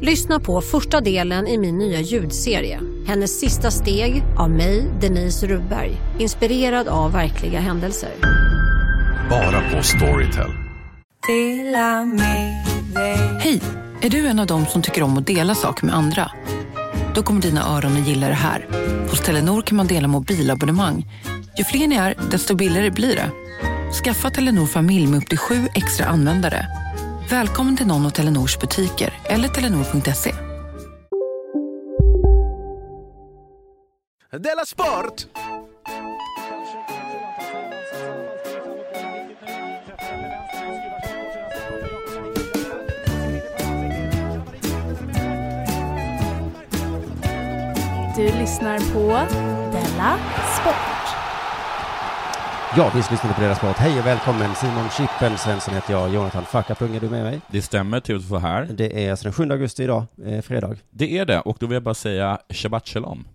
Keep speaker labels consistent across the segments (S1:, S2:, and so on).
S1: Lyssna på första delen i min nya ljudserie. Hennes sista steg av mig, Denise Rubberg. Inspirerad av verkliga händelser.
S2: Bara på Storytel.
S3: Hej! Är du en av dem som tycker om att dela saker med andra? Då kommer dina öron att gilla det här. Hos Telenor kan man dela mobilabonnemang. Ju fler ni är, desto billigare blir det. Skaffa Telenor familj med upp till sju extra användare. Välkommen till någon av Telenors butiker eller telenor.se.
S4: Della Sport!
S5: Du lyssnar på Della Sport.
S6: Ja, visst lyssnar ni på deras prat. Hej och välkommen! Simon Chippen Svensson heter jag. Jonathan Fackapung är du med mig?
S7: Det stämmer, trevligt att vara här.
S6: Det är alltså den 7 augusti idag, eh, fredag.
S7: Det är det, och då vill jag bara säga Shabbat Shalom.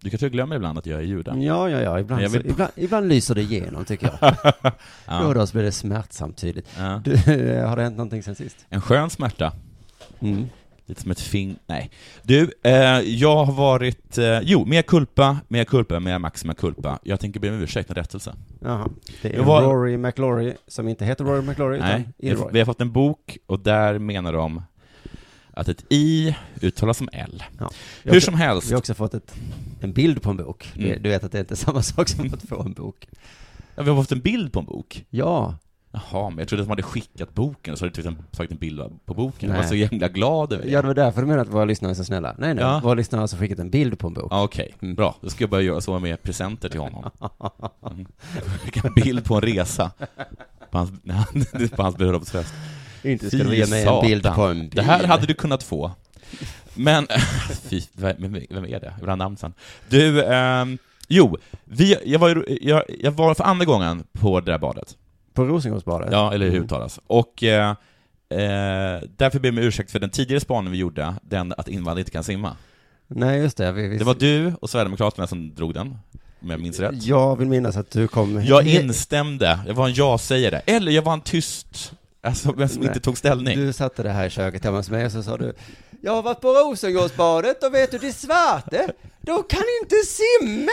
S7: Du kanske glömmer ibland att jag är jude?
S6: Ja, ja, ja. Ibland,
S7: Jag vill-
S6: så, ibland, ibland lyser det igenom, tycker jag. Då och då så blir det smärtsamt tydligt.
S7: Ja.
S6: Du, eh, har det hänt någonting sen sist?
S7: En skön smärta.
S6: Mm.
S7: Lite som ett fing... Nej. Du, eh, jag har varit... Eh, jo, mer kulpa, mer kulpa, mer maxima kulpa. Jag tänker be om ursäkt och rättelse.
S6: Jaha. Det är
S7: Jag var-
S6: Rory McLaury, som inte heter Rory McLaury, utan
S7: Nej,
S6: Ilroy.
S7: vi har fått en bok och där menar de att ett i uttalas som l.
S6: Ja. Jag
S7: Hur
S6: också-
S7: som helst.
S6: Vi har också fått ett, en bild på en bok. Du-
S7: Mm.
S6: Du vet att det inte är samma sak som att få en bok.
S7: Ja, vi har fått en bild på en bok.
S6: Ja,
S7: Jaha, men jag trodde att de hade skickat boken och så hade du tagit en- tagit en bild på boken. Jag var
S6: Nej.
S7: så jävla glad över det.
S6: ja det var därför du menade att våra lyssnare är så snälla. Nej, nej.
S7: Ja.
S6: Våra lyssnare har alltså skickat en bild på en bok.
S7: Ja, Okej,
S6: Mm.
S7: bra. Då ska jag börja göra så med presenter till honom. Mm. Skicka en bild på en resa. På hans, när han- på hans bröllopsfest.
S6: Inte
S7: Fy
S6: ska du ge mig en
S7: satan.
S6: bild på en bil.
S7: Det här hade du kunnat få. Men, fy, vem, vem är det? Jag vill ha namn sen. Du, ehm, jo, vi, jag, var, ju- jag, jag var för andra gången på det där badet.
S6: På Rosengårdsbadet?
S7: Ja, eller hur det uttalas. Och eh, eh, därför ber jag om ursäkt för den tidigare spaningen vi gjorde, den att invandrare inte kan simma.
S6: Nej, just det. Vi, vi,
S7: Det var du och Sverigedemokraterna som drog den, om jag minns rätt.
S6: Jag vill minnas att du kom...
S7: Jag instämde, jag var en ja-sägare, eller jag var en tyst, alltså men som
S6: Nej.
S7: inte tog ställning.
S6: Du satte det här i köket tillsammans med mig och så sa du Jag har varit på Rosengårdsbadet och vet du, det svarte, de kan inte simma!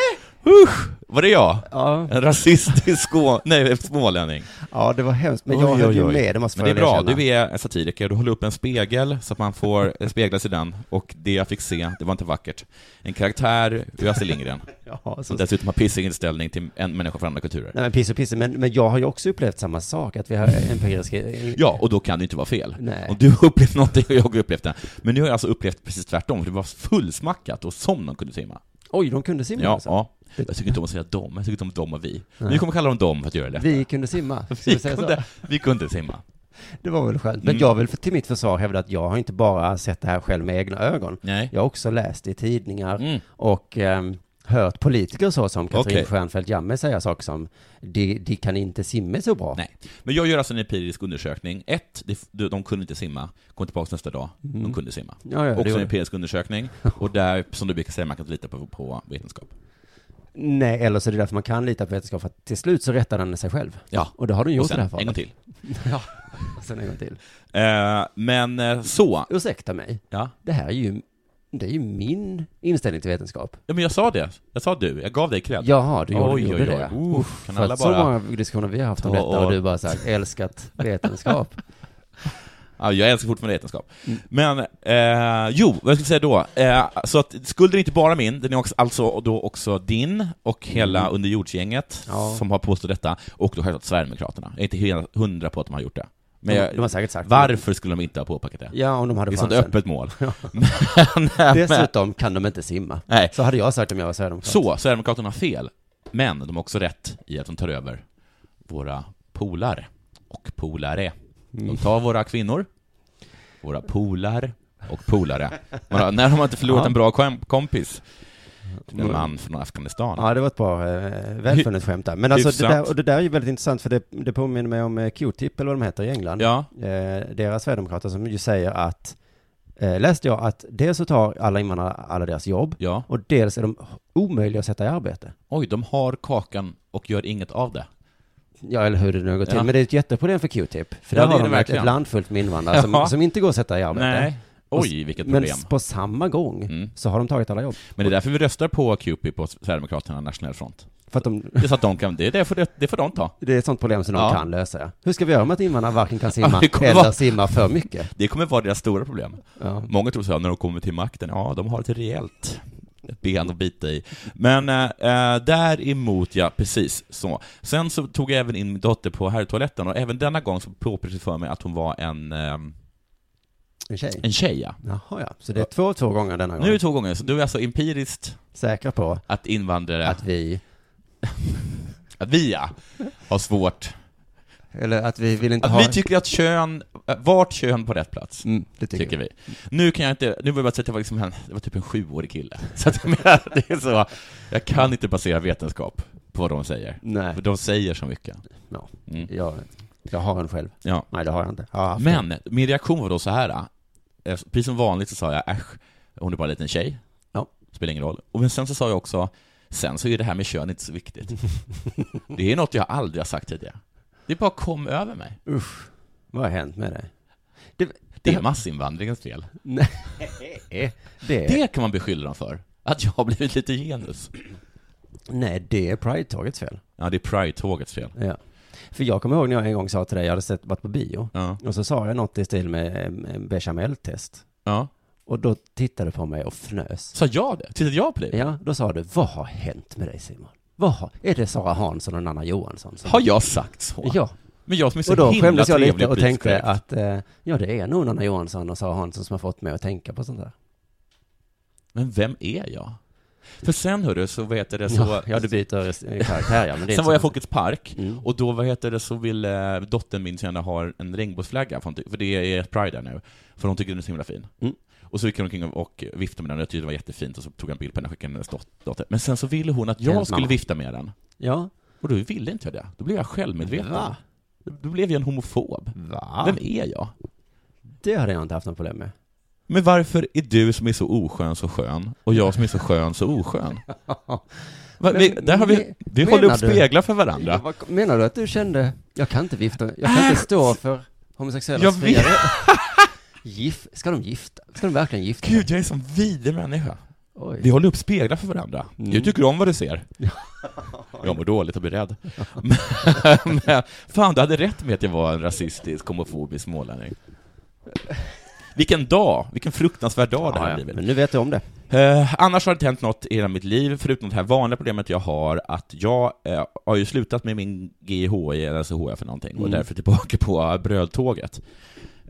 S7: Usch! Var det jag?
S6: Ja,
S7: En rasistisk skå... Nej, smålänning.
S6: ja det var hemskt, men jag höll ju med, det måste
S7: Men det är
S6: jag
S7: bra,
S6: erkänna.
S7: du är en satiriker, du håller upp en spegel så att man får eh, spegla sig i den, och det jag fick se, det var inte vackert. En karaktär ur Astrid Lindgren,
S6: Ja, så...
S7: som dessutom har pissig inställning till en människa från andra kulturer.
S6: Nej men piss och piss, men, men jag har ju också upplevt samma sak, att vi har empiriska...
S7: Ja, och då kan det ju inte vara fel.
S6: Nej.
S7: Om du har upplevt någonting och jag har upplevt det. Men nu har jag alltså upplevt precis tvärtom, för det var fullsmackat och som de kunde simma.
S6: Oj, de kunde simma
S7: Ja,
S6: alltså.
S7: ja. Jag tycker inte om att säga dom, jag tycker inte om dom och vi. Men vi kommer kalla dem dom för att göra det.
S6: Vi kunde simma, ska
S7: vi,
S6: vi säga så?
S7: kunde, vi kunde simma.
S6: Det var väl skönt. Men
S7: Mm.
S6: jag vill för- till mitt försvar hävda att jag har inte bara sett det här själv med egna ögon.
S7: Nej.
S6: Jag har också läst i tidningar
S7: Mm.
S6: och ehm, hört politiker så som Katrin
S7: Okej.
S6: Stjernfeldt Jammeh säga saker som de, de kan inte simma så bra.
S7: Nej. Men jag gör alltså en empirisk undersökning. Ett, det- de, de kunde inte simma. Kom tillbaka nästa dag, de kunde simma.
S6: Mm. Ja, ja, det
S7: Också
S6: gjorde-
S7: en empirisk undersökning. Och där, som du brukar säga, man kan inte lita på, på vetenskap.
S6: Nej, eller så är det därför man kan lita på vetenskap, för att till slut så rättar den sig själv.
S7: Ja.
S6: Och det har den gjort
S7: och sen,
S6: i det här fallet.
S7: en gång till.
S6: ja, och sen en gång till.
S7: Eh, men eh, så.
S6: Ursäkta mig,
S7: Ja.
S6: det här är ju, det är ju min inställning till vetenskap.
S7: ja, men jag sa det. Jag sa du. Jag gav dig cred.
S6: Jaha, du gjorde,
S7: Oj,
S6: gjorde
S7: oj, oj.
S6: det.
S7: Uff,
S6: Uff,
S7: kan
S6: för
S7: alla
S6: att så
S7: bara-
S6: många diskussioner vi har haft om
S7: Ta
S6: detta och
S7: och-
S6: du bara så här, älskat vetenskap.
S7: Ja, jag älskar fortfarande vetenskap.
S6: Mm.
S7: Men, eh, jo, vad jag skulle säga då. Eh, så att skulden är inte bara min, den är också, alltså då också din och hela underjordsgänget
S6: Mm. Ja.
S7: som har påstått detta, och då självklart Sverigedemokraterna. Jag är inte helt hundra på att de har gjort det. Men
S6: De-
S7: jag,
S6: de har säkert sagt det.
S7: varför skulle de inte ha påpekat det?
S6: Ja, om de hade
S7: det är sånt
S6: chansen.
S7: öppet mål. men, men,
S6: Dessutom kan de inte simma.
S7: nej.
S6: Så hade jag sagt om jag var sverigedemokrat.
S7: Så, Sverigedemokraterna har fel, men de har också rätt i att de tar över våra
S6: Mm.
S7: polar och polare. De tar våra kvinnor, våra polar och polare. Man har, när har man inte förlorat en bra kom- kompis? Till en man från Afghanistan.
S6: Ja, det var ett bra eh, välfunnet skämt där. Men alltså det
S7: Hyfsat.
S6: där, och det där är ju väldigt intressant för det, det påminner mig om eh, Q-tip eller vad de heter i England.
S7: Ja.
S6: Eh, deras sverigedemokrater som ju säger att, eh, läste jag att dels så tar alla invandrare alla deras jobb
S7: Ja.
S6: och dels är de omöjliga att sätta i arbete.
S7: Oj, de har kakan och gör inget av det.
S6: Ja, eller hur det nu går till.
S7: Ja.
S6: Men det är ett jätteproblem för Q-tip. För
S7: Ja,
S6: där
S7: det
S6: har de
S7: är det
S6: ett,
S7: verkligen.
S6: ett land fullt med invandrare som,
S7: Ja.
S6: som inte går att sätta i arbete.
S7: Nej.
S6: Och
S7: Oj,
S6: s-
S7: vilket
S6: Men
S7: problem.
S6: s- på samma gång
S7: Mm.
S6: så har de tagit alla jobb.
S7: Men det är därför vi röstar på QP på Sverigedemokraterna Nationell Front.
S6: För att de,
S7: Det är så att de kan, det, är därför, det, det får de ta.
S6: det är ett sånt problem som de
S7: Ja.
S6: kan lösa. ja. Hur ska vi göra med att invandrarna varken kan simma
S7: det kommer
S6: eller
S7: vara-
S6: simma för mycket?
S7: Det kommer vara deras stora problem.
S6: Ja.
S7: Många tror så här, när de kommer till makten, ja, de har ett rejält ben att bita i. Men eh, eh, däremot, ja, precis så. Sen så tog jag även in min dotter på herrtoaletten och även denna gång så påpekades det för mig att hon var en, eh,
S6: En tjej?
S7: en tjej, ja.
S6: Jaha ja, så det är två två gånger denna gång.
S7: Nu är det två gånger, så du är alltså empiriskt
S6: Säkra på
S7: att invandrare,
S6: att
S7: att,
S6: vi,
S7: vi ja, har svårt.
S6: eller att vi vill inte ha...
S7: Att vi tycker att kön, eh, vart kön på rätt plats.
S6: mm, det tycker,
S7: tycker
S6: vi.
S7: vi. Nu kan jag inte, nu vill jag bara säga att det var, liksom en, det var typ en sjuårig kille. Så att jag menar, det är så, jag kan inte basera vetenskap på vad de säger.
S6: Nej,
S7: För de säger så mycket.
S6: ja.
S7: Mm.
S6: jag, jag har en själv.
S7: Ja.
S6: Nej, det har jag inte. Jag har haft en.
S7: Men min reaktion var då så här. eh, Precis som vanligt så sa jag äsch, hon är bara en liten tjej.
S6: Ja.
S7: Spelar ingen roll. Och men sen så sa jag också, sen så är det här med kön inte så viktigt. det är något jag aldrig har sagt tidigare. Det bara kom över mig.
S6: Usch, vad har hänt med dig?
S7: Det är massinvandringens fel.
S6: Det,
S7: Det kan man beskylla dem för. Att jag har blivit lite genus.
S6: Nej, det är Pride-tågets fel.
S7: Ja, det är Pride-tågets fel.
S6: Ja. För jag kommer ihåg när jag en gång sa till dig, jag hade sett, varit på bio,
S7: Ja.
S6: och så sa jag något i stil med eh, bechamel-test.
S7: ja.
S6: Och då tittade du på mig och fnös.
S7: Sa jag det? Tittade jag på dig?
S6: Ja, då sa du, vad har hänt med dig Simon? Vad har, är det Sara Hansson och Nanna Johansson? Som...
S7: Har jag sagt så?
S6: Ja,
S7: Men jag som är så
S6: och då
S7: himla
S6: skämdes jag
S7: trevlig
S6: lite och
S7: politisk
S6: tänkte
S7: korrekt.
S6: att eh, ja, det är nog Nanna Johansson och Sara Hansson som har fått mig att tänka på sånt där.
S7: Men vem är jag? För sen hörru, så vad heter det, så...
S6: Ja, ja, du byter eh, karaktär ja, men det är
S7: Sen var jag i
S6: inte så-
S7: Folkets park,
S6: Mm.
S7: och då, vad heter det, så ville dottern min så gärna ha en regnbågsflagga, för, hon ty- för det är Pride där nu, för hon tycker den är så himla fin.
S6: Mm.
S7: Och så gick hon omkring och- och viftade med den, och jag tyckte det var jättefint, och så tog jag en bild på henne och skickade den till hennes dot- dotter. Men sen så ville hon att jag
S6: Hennes
S7: skulle
S6: mamma.
S7: vifta med den,
S6: Ja.
S7: och då ville inte jag det. Då blev jag självmedveten.
S6: Va?
S7: Då blev jag en homofob.
S6: Va?
S7: Vem är jag?
S6: Det hade jag inte haft något problem med.
S7: Men varför är du som är så oskön så skön och jag som är så skön så oskön? Va, vi,
S6: Men-
S7: där har vi,
S6: men-
S7: vi håller upp
S6: menar du?
S7: speglar för varandra.
S6: Vad- Menar du att du kände, jag kan inte vifta, jag kan inte stå för homosexuellas
S7: Äh! Jag
S6: fria
S7: vet.
S6: rätt- Gif, ska de gifta, ska de verkligen gifta sig?
S7: Gud, jag är som vidrig människa.
S6: Oj. Mm.
S7: Vi håller upp speglar för varandra. Du tycker om vad du ser. Jag mår dåligt och blir rädd. Men, men, fan, du hade rätt med att jag var en rasistisk, homofobisk smålänning. Vilken dag, vilken fruktansvärd dag det här
S6: ja, ja.
S7: blivit.
S6: Men nu vet du om det.
S7: Eh, annars har det inte hänt något i hela mitt liv, förutom det här vanliga problemet jag har, att jag eh, har ju slutat med min GHI eller SHF för någonting,
S6: Mm.
S7: och därför tillbaka på brödtåget.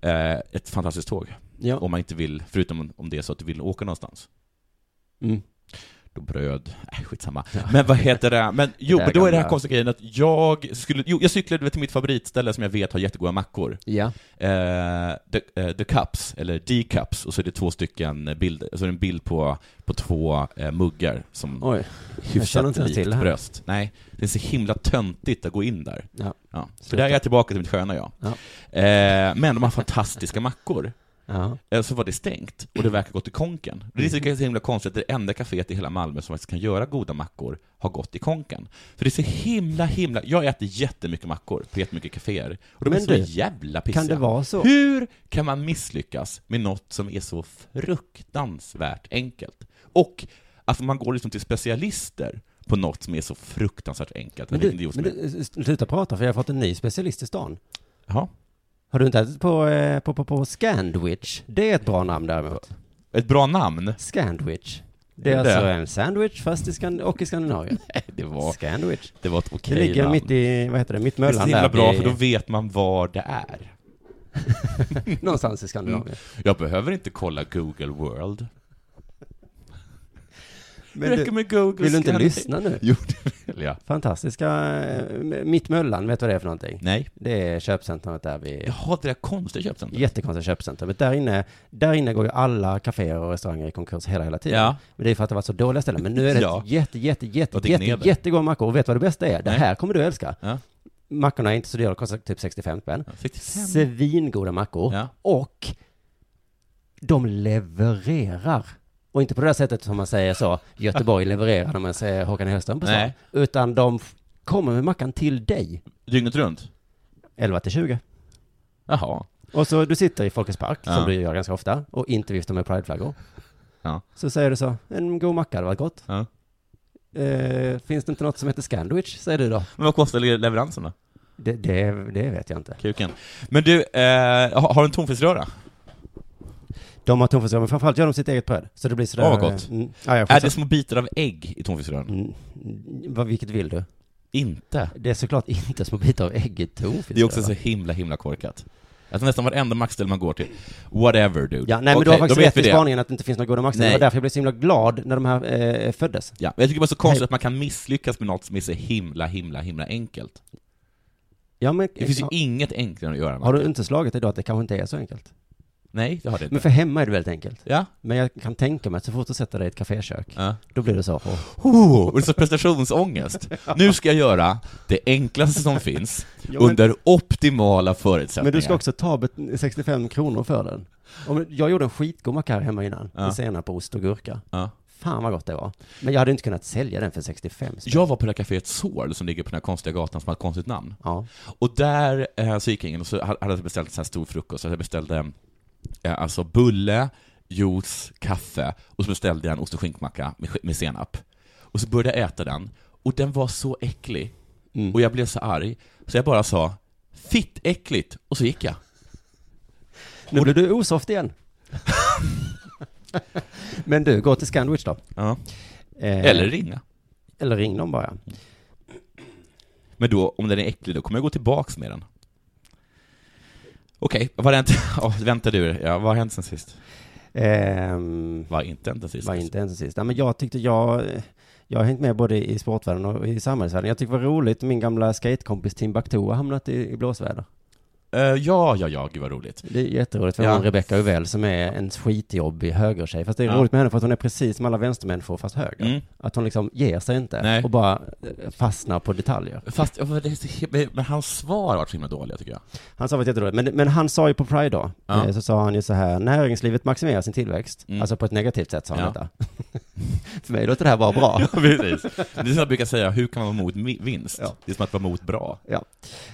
S7: Eh, ett fantastiskt tåg,
S6: Ja.
S7: om man inte vill, förutom om det är så att du vill åka någonstans.
S6: Mm.
S7: Då bröd, äh, skitsamma. Men vad heter det? Men jo,
S6: Det där
S7: men då är det här
S6: gamla- konstiga
S7: konstiga grejen att jag skulle, jo, jag cyklade till mitt favoritställe som jag vet har jättegoda mackor.
S6: Ja.
S7: Eh, the, eh, the Cups, eller The Cups, och så är det två stycken bilder, alltså en bild på, på två eh, muggar som
S6: Oj. jag känner
S7: hyfsat
S6: inte ens
S7: likt
S6: till det här.
S7: bröst. Nej, det är så himla töntigt att gå in där.
S6: Ja.
S7: Ja. För
S6: Sluta.
S7: där är jag tillbaka till mitt sköna jag.
S6: Ja.
S7: Eh, men de har fantastiska mackor.
S6: Ja. Mm.
S7: Eh, Så var det stängt och det verkar gå till konken. Det är så- så himla konstigt att det enda kaféet i hela Malmö som faktiskt kan göra goda mackor har gått i konken. För det är så himla, himla... Jag äter jättemycket mackor på jättemycket kaféer och de
S6: Men
S7: är så
S6: du,
S7: jävla pissiga.
S6: Kan det vara så?
S7: Hur kan man misslyckas med något som är så fruktansvärt enkelt? Och att man går liksom till specialister på något som är så fruktansvärt enkelt.
S6: Men
S7: Men
S6: du, men du, s- sluta prata för jag har fått en ny specialist i stan.
S7: Jaha.
S6: Har du inte ätit på, eh, på, på, på Scandwich? Det är ett bra namn däremot.
S7: Ett bra namn.
S6: Scandwich. Det är
S7: Det.
S6: alltså en sandwich fast i Skan- och i Skandinavien.
S7: Det var,
S6: Scandwich.
S7: det var ett
S6: Det
S7: okej
S6: ligger
S7: namn.
S6: mitt i, vad heter det, mitt
S7: det är så
S6: möllan
S7: himla
S6: där.
S7: bra,
S6: vid-
S7: för då vet man var det är.
S6: Någonstans i
S7: Mm.
S6: Skandinavien.
S7: Jag behöver inte kolla Google World.
S8: Men
S7: räcker
S8: du-
S7: med Google.
S6: Vill du inte
S7: scanning.
S6: lyssna nu?
S7: Jo, det vill jag.
S6: Fantastiska eh, Mittmöllan, vet du vad det är för någonting?
S7: Nej.
S6: Det är köpcentrumet där vi...
S7: Jaha, det där konstiga köpcentret.
S6: Jättekonstiga köpcentrumet. Där inne, där inne går ju alla kaféer och restauranger i konkurs hela, hela tiden.
S7: Ja.
S6: Men det är för att det har varit så dåliga ställen. Men nu är det
S7: Ja.
S6: ett jätte, jätte, jätte,
S7: Och det
S6: jätte,
S7: gnever.
S6: jättegoda mackor. Och vet du vad det bästa är? Det
S7: Nej.
S6: här kommer du älska.
S7: Ja.
S6: Mackorna är inte så dyra, de kostar typ 65 spänn.
S7: Ja, 65.
S6: Svingoda mackor.
S7: Ja.
S6: Och de levererar. Och inte på det där sättet som man säger så, Göteborg levererar när man säger Håkan Hellström på stan.
S7: Nej.
S6: Utan de f- kommer med mackan till dig,
S7: Dygnet runt?
S6: 11 till 20.
S7: Jaha.
S6: Och så du sitter i Folkets park,
S7: Ja.
S6: som du gör ganska ofta, och inte viftar med prideflaggor.
S7: Ja.
S6: Så säger du så, en god macka hade varit gott.
S7: Ja.
S6: Eh, finns det inte något som heter Sandwich, säger du då?
S7: Men vad kostar le- leveransen då?
S6: Det, det, det vet jag inte.
S7: Kuken. Men du, eh, ha- har du en tonfiskröra?
S6: De har tonfiskar, men framförallt gör de sitt eget bröd. Så det blir sådär...
S7: Åh, vad gott.
S6: Mm, ja, jag får
S7: Är
S6: så-
S7: det små bitar av ägg i tonfiskröran?
S6: Mm, vad, vilket vill du?
S7: Inte.
S6: Det är såklart inte små bitar av ägg i tonfisk.
S7: Det är också
S6: eller?
S7: så himla, himla korkat. Alltså nästan varenda maxställe man går till. Whatever, dude.
S6: Ja, nej men du
S7: Okej,
S6: har faktiskt
S7: då vet
S6: rätt
S7: vi
S6: i
S7: det.
S6: spaningen att det inte finns några goda maxar. Det
S7: Nej.
S6: var därför jag blev så himla glad när de här eh, föddes.
S7: Ja, men jag tycker bara så konstigt
S6: Nej.
S7: att man kan misslyckas med något som är så himla, himla, himla enkelt.
S6: Ja, men,
S7: Det finns ju
S6: har,
S7: inget enklare än att göra något.
S6: har du inte slagit dig då att det kanske inte är så enkelt?
S7: Nej, det har det inte.
S6: Men för hemma är det väldigt enkelt.
S7: Ja.
S6: Men jag kan tänka mig att så fort du sätter dig i ett kafékök,
S7: ja.
S6: då blir det så. åh,
S7: Oh, och det är så prestationsångest. Nu ska jag göra det enklaste som finns,
S6: men-
S7: under optimala förutsättningar.
S6: Men du ska också ta bet- 65 kronor för den. Om- Jag gjorde en skitgod macka här hemma innan,
S7: Ja.
S6: med senap och ost och gurka.
S7: Ja.
S6: Fan vad gott det var. Men jag hade inte kunnat sälja den för 65 spänn.
S7: Jag var på det här kaféet Sorl som ligger på den här konstiga gatan som har ett konstigt namn.
S6: Ja.
S7: Och där eh, så gick jag in och så hade hade jag beställt en sån här stor frukost. Så jag beställde eh, alltså bulle, juice, kaffe och så beställde jag en ost och skinkmacka med, sk- med senap. Och så började jag äta den och den var så äcklig. Och jag blev så arg så jag bara sa Fitt äckligt! Och så gick jag.
S6: Nu blev du osoft igen. Men du, gå till Scandwich då.
S7: Ja.
S6: Eh,
S7: Eller ringa.
S6: eller ring dem bara.
S7: Men då, om den är äcklig, då kommer jag gå tillbaks med den. Okej, vad har hänt? Oh, vänta du, ja, vad har hänt sen sist?
S6: Ehm,
S7: Vad har inte hänt sen sist?
S6: var inte ens sist. Nej, men jag tyckte jag... Jag har hängt med både i sportvärlden och i samhällsvärlden. Jag tyckte det var roligt, min gamla skatekompis Timbuktu har hamnat i, i blåsväder.
S7: Eh, ja, ja, ja, gud vad roligt.
S6: Det är jätteroligt för
S7: Ja.
S6: hon Rebecca Uvell som är en skitjobbig högertjej. Fast det är
S7: Ja.
S6: roligt med henne för att hon är precis som alla vänstermänniskor fast höger.
S7: Mm.
S6: Att hon liksom ger sig inte
S7: Nej.
S6: och bara eh, fastnar på detaljer.
S7: Fast, ja, men det är så himla- men hans svar har varit så himla dåliga tycker jag.
S6: Han sa varit jätteroligt, men, men han sa ju på Pride då,
S7: Ja.
S6: eh, så sa han ju så här, näringslivet maximerar sin tillväxt.
S7: Mm.
S6: Alltså på ett negativt sätt sa han
S7: Ja.
S6: detta. för mig låter det här bara bra.
S7: Ja, precis. Det är som jag brukar säga, hur kan man vara mot mi- vinst?
S6: Ja.
S7: Det är som att vara mot bra.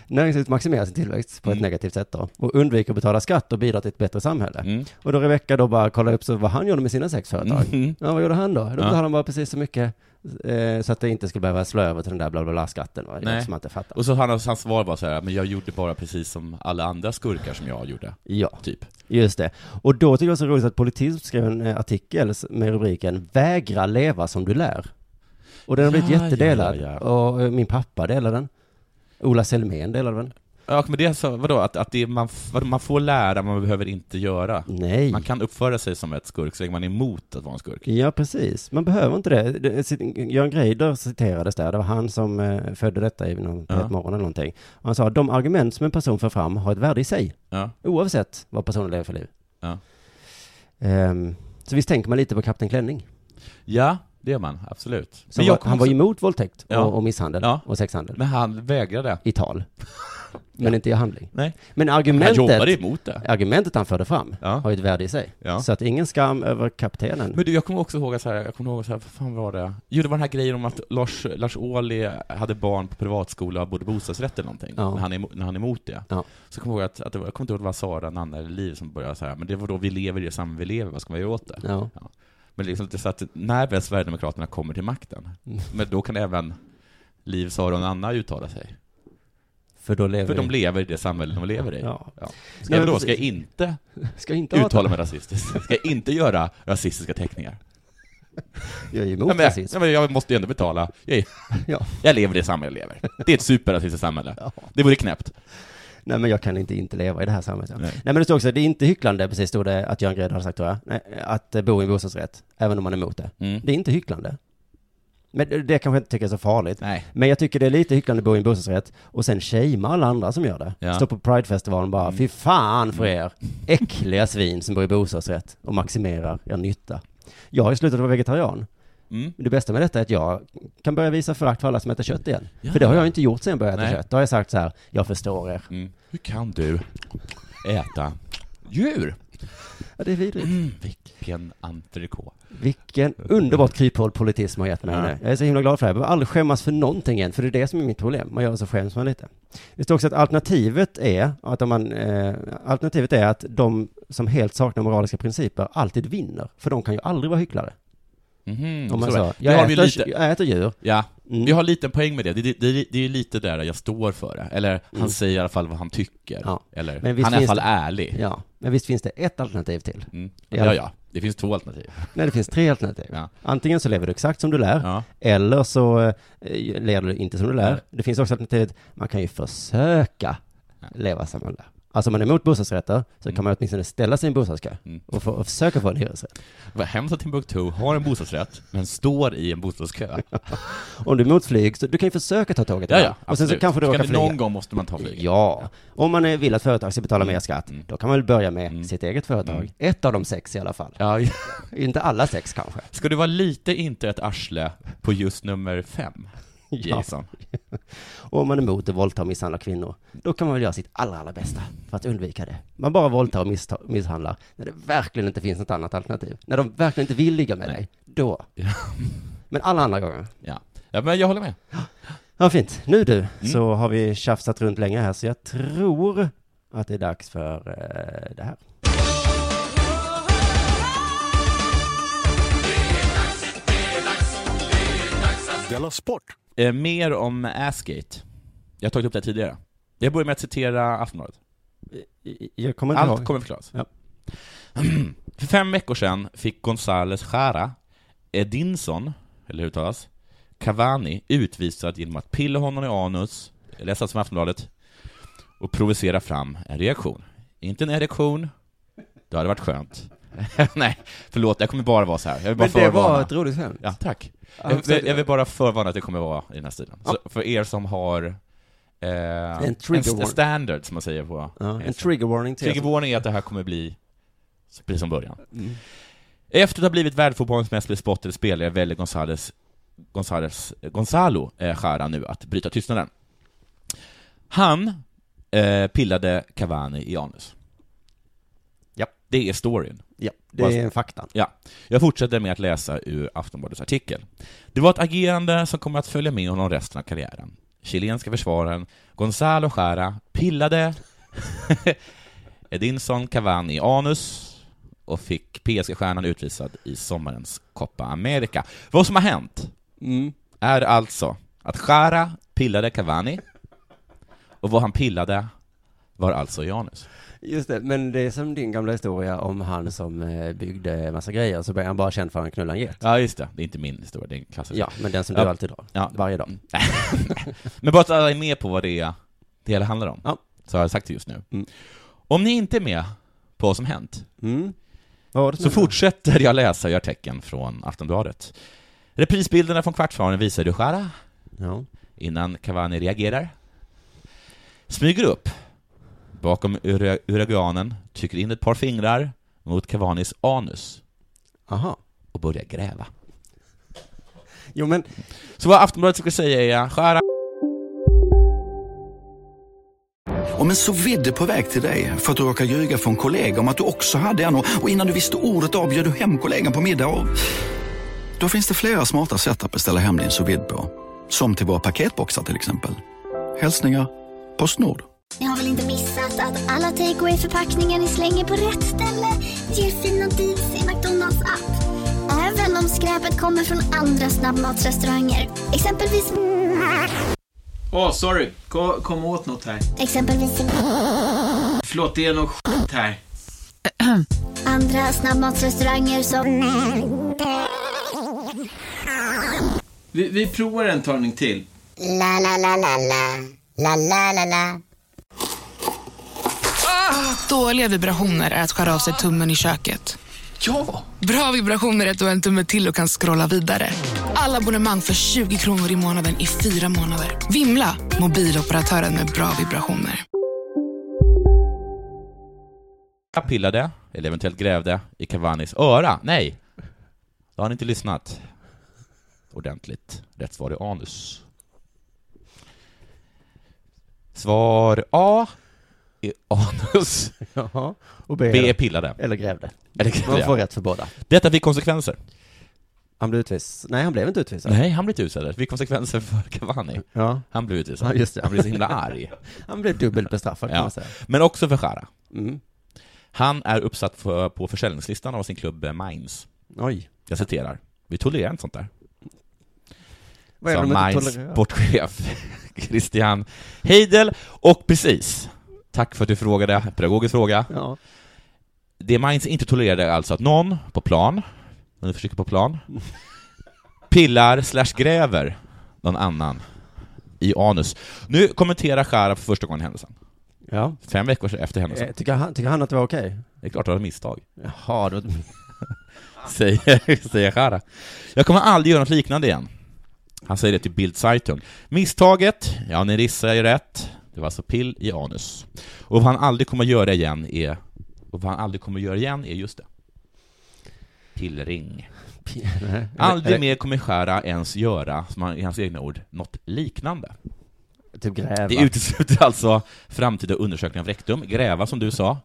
S6: Näringslivet maximerar sin tillväxt på ett
S7: Mm.
S6: negativt sätt då. Och undviker att betala skatt och bidrar till ett bättre samhälle.
S7: Mm.
S6: Och då Rebecca då bara kollade upp så vad han gjorde med sina sex företag.
S7: Mm.
S6: Ja, vad gjorde han då? Då betalade
S7: Ja.
S6: han bara precis så mycket eh, så att det inte skulle behöva slå över till den där bla bla bla skatten. Va? Det är
S7: Nej.
S6: något som man inte fattar.
S7: Och så han, hans svar var så här, men jag gjorde bara precis som alla andra skurkar som jag gjorde,
S6: Ja,
S7: typ.
S6: just det. Och då tycker jag det var så roligt att Politism skrev en eh, artikel s- med rubriken Vägra leva som du lär. Och den har blivit
S7: Ja,
S6: jättedelad.
S7: ja,
S6: Och eh, min pappa delade den. Ola Selmén delade den.
S7: Ja, men det är så, vadå, att, att det är, man, f- vadå, man får lära, man behöver inte göra.
S6: Nej.
S7: Man kan uppföra sig som ett skurk så länge man är emot att vara en skurk.
S6: Ja, precis. Man behöver inte det. det sit- Göran Greider citerades där. Det var han som eh, födde detta i någon
S7: Ja.
S6: ja. morgon eller någonting. Och han sa de argument som en person för fram har ett värde i sig.
S7: Ja.
S6: Oavsett vad personen lever för liv.
S7: Ja.
S6: Ehm, så visst tänker man lite på Kapten Klänning.
S7: Ja, det gör man, absolut.
S6: Som var, han var ju emot våldtäkt
S7: Ja.
S6: och, och misshandel
S7: Ja.
S6: och sexhandel.
S7: Men han vägrade.
S6: I tal. Men inte i handling.
S7: Nej.
S6: Men
S7: Han
S6: argumentet
S7: jobbade emot det.
S6: argumentet han förde fram
S7: Ja.
S6: har ju ett värde i sig.
S7: Ja.
S6: Så att ingen skam över kaptenen.
S7: Men du, jag kommer också ihåg att så här, jag kommer ihåg så här, vad fan var det? Jo, det var den här grejen om att Lars, Lars Ohly hade barn på privatskola och bodde i bostadsrätt eller någonting,
S6: Ja.
S7: när, han är, emo- när han är emot det.
S6: Ja.
S7: Så kommer jag ihåg att, att det var, jag kommer inte ihåg om det var Sara, Nanna eller Liv som började så här, men det var då vi lever i det samhälle vi lever, vad ska man göra åt det?
S6: Ja.
S7: Men liksom, det är så att när väl Sverigedemokraterna kommer till makten,
S6: Mm.
S7: men då kan även Liv, Sara och Nanna uttala sig.
S6: För då lever
S7: För de
S6: vi-
S7: lever i det samhälle de lever i.
S6: Ja.
S7: Ska
S6: Nej,
S7: jag
S6: men
S7: då, ska jag inte
S6: Ska inte ha
S7: uttala mig rasistiskt? Ska jag inte göra rasistiska teckningar?
S6: Jag är ju
S7: Ja,
S6: emot
S7: men,
S6: rasism.
S7: ja, men jag måste ju ändå betala. Jag, är-
S6: Ja.
S7: jag lever i det samhälle jag lever. Det är ett superrasistiskt samhälle.
S6: Ja.
S7: Det vore knäppt.
S6: Nej men jag kan inte inte leva i det här samhället. Nej,
S7: Nej.
S6: men det står också, det är inte hycklande, precis stod det att Göran Greider hade sagt tror jag, Nej, att eh, bo i en bostadsrätt, även om man är emot det.
S7: Mm.
S6: Det är inte hycklande. Men det det kanske jag inte tycker är så farligt.
S7: Nej.
S6: Men jag tycker det är lite hycklande att bo i en bostadsrätt och sen shamea alla andra som gör det.
S7: Ja.
S6: Står på Pridefestivalen och bara, fy fan för er, äckliga svin som bor i bostadsrätt och maximerar er nytta. Jag har ju slutat vara vegetarian.
S7: Mm.
S6: Men det bästa med detta är att jag kan börja visa förakt för alla som äter kött igen. För det har jag inte gjort sen jag började
S7: Nej.
S6: äta kött. Då har jag sagt så här, jag förstår er.
S7: Mm. Hur kan du äta djur?
S6: Ja, det är vidrigt.
S7: Mm. Vilken entrecote.
S6: Vilken underbart kryphål politism har gett mig
S7: Ja.
S6: nu. Jag är så himla glad för det här. Jag behöver aldrig skämmas för någonting än, för det är det som är mitt problem. Man gör så skäms man lite. Det står också att alternativet är att, om man, eh, alternativet är att de som helt saknar moraliska principer alltid vinner, för de kan ju aldrig vara hycklare.
S7: Mhm,
S6: Om man
S7: så är
S6: sa,
S7: det. Det har
S6: jag
S7: vi
S6: äter,
S7: lite-
S6: jag äter djur.
S7: Ja,
S6: Mm.
S7: vi har lite poäng med det. Det, det, det, det är lite där jag står för det. Eller han
S6: Mm.
S7: säger i alla fall vad han tycker.
S6: Ja.
S7: Eller
S6: Men visst
S7: han är i alla
S6: finns
S7: fall
S6: det-
S7: ärlig.
S6: Ja, men visst finns det ett alternativ till?
S7: Mm.
S6: Ja.
S7: Ja, ja. Det finns två alternativ.
S6: Nej, det finns tre alternativ.
S7: Ja.
S6: Antingen så lever du exakt som du lär,
S7: Ja.
S6: eller så eh, lever du inte som du lär.
S7: Nej.
S6: Det finns också alternativet, man kan ju försöka leva som man lär. Alltså om man är emot bostadsrätter så kan man åtminstone ställa sig i en bostadskö
S7: Mm.
S6: och, få, och försöka få en hyresrätt.
S7: Vad hemskt att Timbuktu har en bostadsrätt, men står i en bostadskö.
S6: Om du är emot flyg, så du kan ju försöka ta tåget
S7: Ja,
S6: ibland.
S7: ja.
S6: Och sen så
S7: absolut.
S6: kanske du
S7: Ska
S6: råkar
S7: det-
S6: flyga.
S7: Någon gång måste man ta flyget. Mm.
S6: Ja, om man eh, vill att företag ska betala mer skatt, då kan man väl börja med sitt eget företag. Ett av de sex i alla fall.
S7: Ja.
S6: Inte alla sex kanske.
S7: Ska du vara lite inte ett arsle på just nummer fem?
S6: Ja.
S7: Jason.
S6: Och om man är emot att våldta och misshandla kvinnor, då kan man väl göra sitt allra, allra bästa för att undvika det. Man bara våldtar och missta- misshandlar när det verkligen inte finns något annat alternativ. När de verkligen inte vill ligga med dig, då. Men alla andra gånger.
S7: Ja. ja, men jag håller med.
S6: Ja, fint. Nu du, så har vi tjafsat runt länge här, så jag tror att det är dags för eh, det här.
S9: Della Sport!
S7: Eh, mer om Askgate. Jag har tagit upp det här tidigare. Jag börjar med att citera Aftonbladet.
S6: Jag kommer inte
S7: Allt
S6: ihåg.
S7: kommer förklaras.
S6: Ja.
S7: För fem veckor sedan fick Gonzales Jara Edinson, eller hur det uttalas, Cavani utvisad genom att pilla honom i anus, läsa som Aftonbladet, och provocera fram en reaktion. Inte en erektion, det hade varit skönt. Nej, förlåt, jag kommer bara vara så här. Jag vill bara
S8: Men det var
S7: förvarna.
S8: ett roligt skämt.
S7: Ja, tack. Jag, jag, jag vill bara förvarna att det kommer vara i den här stilen. Så för er som har eh, en,
S6: trigger
S7: st-
S6: warning.
S7: standard, som man säger på
S6: Ja, en
S7: engelska.
S6: trigger warning till er som-
S7: Triggervarning är att det här kommer bli precis som början. Efter att ha blivit världsfotbollens mest bespottade spelare väljer Gonzales, Gonzales, Gonzalo eh, Jara nu att bryta tystnaden. Han eh, pillade Cavani i anus.
S6: Ja.
S7: Det är storyn.
S6: Ja, det är en fakta.
S7: Ja, jag fortsätter med att läsa ur Aftonbladets artikel. Det var ett agerande som kommer att följa med honom resten av karriären. Chilenska försvararen Gonzalo Jara pillade Edinson Cavani i anus och fick PSG-stjärnan utvisad i sommarens Copa America. Vad som har hänt är alltså att Jara pillade Cavani och vad han pillade var alltså i anus.
S6: Just det, men det är som din gamla historia om han som eh, byggde massa grejer, så blev han bara känd för att han knullade en get.
S7: Ja, just det. Det är inte min historia, det är en klassisk.
S6: Ja, men den som du
S7: Ja.
S6: alltid drar.
S7: Ja.
S6: Varje dag.
S7: Mm. Men bara att alla är med på vad det, är, det hela handlar om.
S6: Ja.
S7: Så har jag sagt det just nu.
S6: Mm.
S7: Om ni inte är med på vad som hänt,
S6: Mm. Vad var det som
S7: så fortsätter jag läsa och gör tecken från Aftonbladet. Reprisbilderna från kvartsfinalen visar du Jara,
S6: Ja.
S7: innan Cavani reagerar. Smyger upp bakom ura- uragranen, trycker in ett par fingrar mot Cavanis anus
S6: Aha.
S7: och börjar gräva.
S6: Jo men,
S7: Så vad Aftonbladet skulle säga är Jara
S10: Om en så vidd är på väg till dig för att du råkar ljuga från kollega om att du också hade en och och innan du visste ordet av bjöd du hem kollegan på middag och... Då finns det flera smarta sätt att beställa hem din sous vide på. Som till våra paketboxar till exempel. Hälsningar Postnord.
S11: Ni har väl inte missat att alla takeaway förpackningar ni slänger på rätt ställe ger fina deals i McDonalds app. Även om skräpet kommer från andra snabbmatsrestauranger. Exempelvis...
S12: Åh, sorry. Kom, kom åt något här.
S11: Exempelvis...
S12: Förlåt, det är något skit här.
S11: Andra snabbmatsrestauranger som...
S12: Vi, vi provar en talning till.
S11: La, la, la, la, la. La, la, la, la.
S13: Dåliga vibrationer är att skära av sig tummen i köket.
S10: Ja!
S13: Bra vibrationer är att du har en tumme till och kan scrolla vidare. Alla abonnemang för 20 kronor i månaden i fyra månader. Vimla! Mobiloperatören med bra vibrationer.
S7: Jag pillade, eller eventuellt grävde, i Cavanis öra. Nej! Då har ni inte lyssnat ordentligt. Rätt svar är anus. Svar A är anus.
S6: Jaha. Och
S7: B,
S6: B
S7: är pillade.
S6: Eller grävde.
S7: Eller grävde.
S6: Man får rätt för båda.
S7: Detta fick konsekvenser.
S6: Han blev utvisad. Nej, han blev inte utvisad.
S7: Nej, han blev inte utvisad. Det fick konsekvenser för Cavani.
S6: Ja.
S7: Han blev utvisad.
S6: Ja, just det.
S7: Han blev så himla arg.
S6: Han blev dubbelt bestraffad kan
S7: Ja.
S6: man säga.
S7: Men också för Jara.
S6: Mm.
S7: Han är uppsatt för, på försäljningslistan av sin klubb eh, Mainz.
S6: Oj.
S7: Jag citerar. Vi tolererar inte sånt där.
S6: Vad är
S7: Sa
S6: det de inte
S7: Mainz
S6: tolererar?
S7: sportchef Christian Heidel. Och precis, tack för att du frågade, pedagogisk fråga. Det Mainz inte tolererade är alltså att någon på plan, om du försöker på plan, pillar slash gräver någon annan i anus. Nu kommenterar Chara för första gången händelsen.
S6: Ja.
S7: Fem veckor efter händelsen.
S6: Eh, Tycker han, tycker han att det var okej?
S7: Det är klart det var ett misstag.
S6: Jaha, då...
S7: säger, säger Jara. Jag kommer aldrig göra något liknande igen. Han säger det till Bild Zeitung. Misstaget, ja ni rissar ju rätt. Det var alltså pill i anus. Och vad han aldrig kommer att göra igen är, och vad han aldrig kommer att göra igen är just det. Pillring.
S6: Nej.
S7: Aldrig
S6: Eller-
S7: mer kommer Skära ens göra, som han, i hans egna ord, något liknande.
S6: Typ gräva.
S7: Det utesluter alltså framtida undersökning av rektum, gräva som du sa.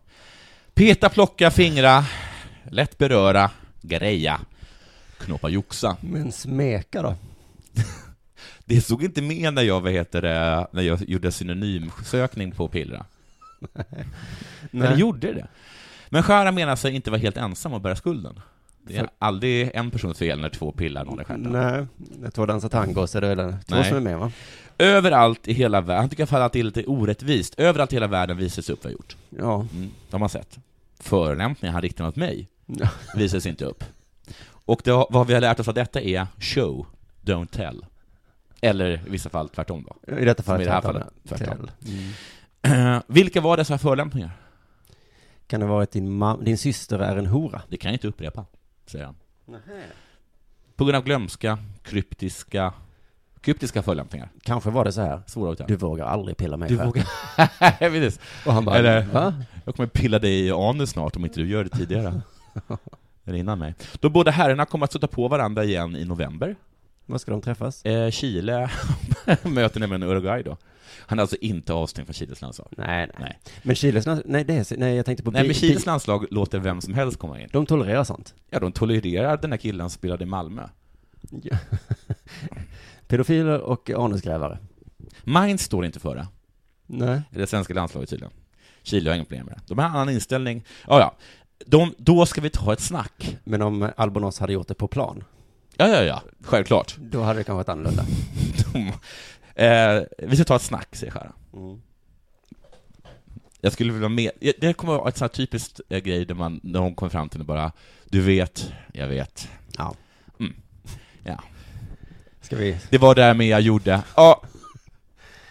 S7: Peta, plocka, fingra, lätt beröra, greja, knåpa, joxa.
S6: Men smeka då?
S7: Det såg inte med när jag, vad heter det, när jag gjorde synonymsökning på pillra. Men det
S6: Nej.
S7: gjorde det. Men Skära menar sig inte vara helt ensam och bära skulden. Det är
S6: För-
S7: aldrig en persons fel när två pillar någon är stjärten.
S6: Nej, jag tror dansa tango så det är det två
S7: Nej.
S6: som är med va?
S7: Överallt i hela världen, han tycker i alla fall att det är lite orättvist, överallt i hela världen visas upp vad jag gjort.
S6: Ja.
S7: Mm, det har man sett. Förolämpningar han riktar mot mig visas inte upp. Och det, har- vad vi har lärt oss av detta är show, don't tell. Eller i vissa fall tvärtom då.
S6: I detta fall
S7: Som i det här
S6: tvärtom,
S7: fallet,
S6: ja. Mm.
S7: tvärtom. Eh, Vilka var dessa förolämpningar?
S6: Kan det vara att din, ma- din syster är en hora?
S7: Det kan jag inte upprepa, säger han. På grund av glömska, kryptiska, kryptiska förolämpningar.
S6: Kanske var det så här.
S7: Svåra att uttala.
S6: Du vågar aldrig pilla mig
S7: Du
S6: själv.
S7: vågar... Precis.
S6: Och han bara,
S7: Eller,
S6: va?
S7: Jag kommer pilla dig i anus snart om inte du gör det tidigare. Eller innan mig. Då båda herrarna kommer att stöta på varandra igen i november.
S6: Var ska de träffas?
S7: Eh, Chile möter nämligen Uruguay då. Han är alltså inte avstängd från Chiles landslag.
S6: Nej, nej. Men Chiles land- nej, det är, nej jag tänkte på
S7: Nej,
S6: bi-
S7: men Chiles
S6: bi-
S7: landslag låter vem som helst komma in.
S6: De tolererar sånt.
S7: Ja, de tolererar den här killen som spelade i Malmö.
S6: Pedofiler och anusgrävare.
S7: Mainz står inte för det.
S6: Nej.
S7: Det är svenska landslaget tydligen. Chile har inga problem med det. De har en annan inställning. Ja, ja. De, då ska vi ta ett snack.
S6: Men om Albonos hade gjort det på plan,
S7: Ja, ja, ja. Självklart.
S6: då hade det kanske varit annorlunda.
S7: De, eh, vi ska ta ett snack, säger Skära. Jag skulle vilja med... Det här kommer att vara ett sånt här typiskt eh, grej där man, när hon kommer fram till det bara, du vet, jag vet.
S6: Ja.
S7: Mm. Ja.
S6: Ska vi...
S7: Det var där med jag gjorde. Ja.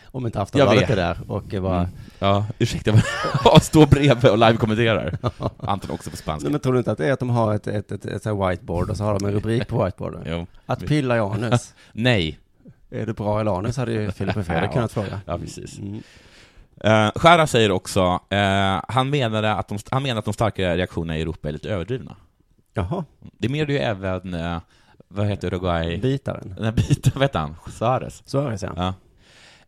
S6: Om inte
S7: Jag
S6: Aftonbladet är
S7: vet.
S6: där och bara...
S7: Mm. Ja, ursäkta, jag står bredvid och live-kommenterar. Anton också på spanska.
S6: Nej, men tror du inte att det är att de har ett, ett, ett, ett, så här whiteboard och så har de en rubrik på whiteboarden?
S7: Jo.
S6: Att pilla i anus.
S7: Nej.
S6: Är det bra eller anus hade ju Filip och Fredrik kunnat fråga.
S7: Ja, precis. Eh, Skära säger också, eh, han, menade att de, han menar att de starka reaktionerna i Europa är lite överdrivna.
S6: Jaha.
S7: Det menar ju även, eh, vad heter Uruguay?
S6: Bitaren.
S7: Nej, bitaren, vad heter han? Suarez.
S6: Suarez,
S7: ja.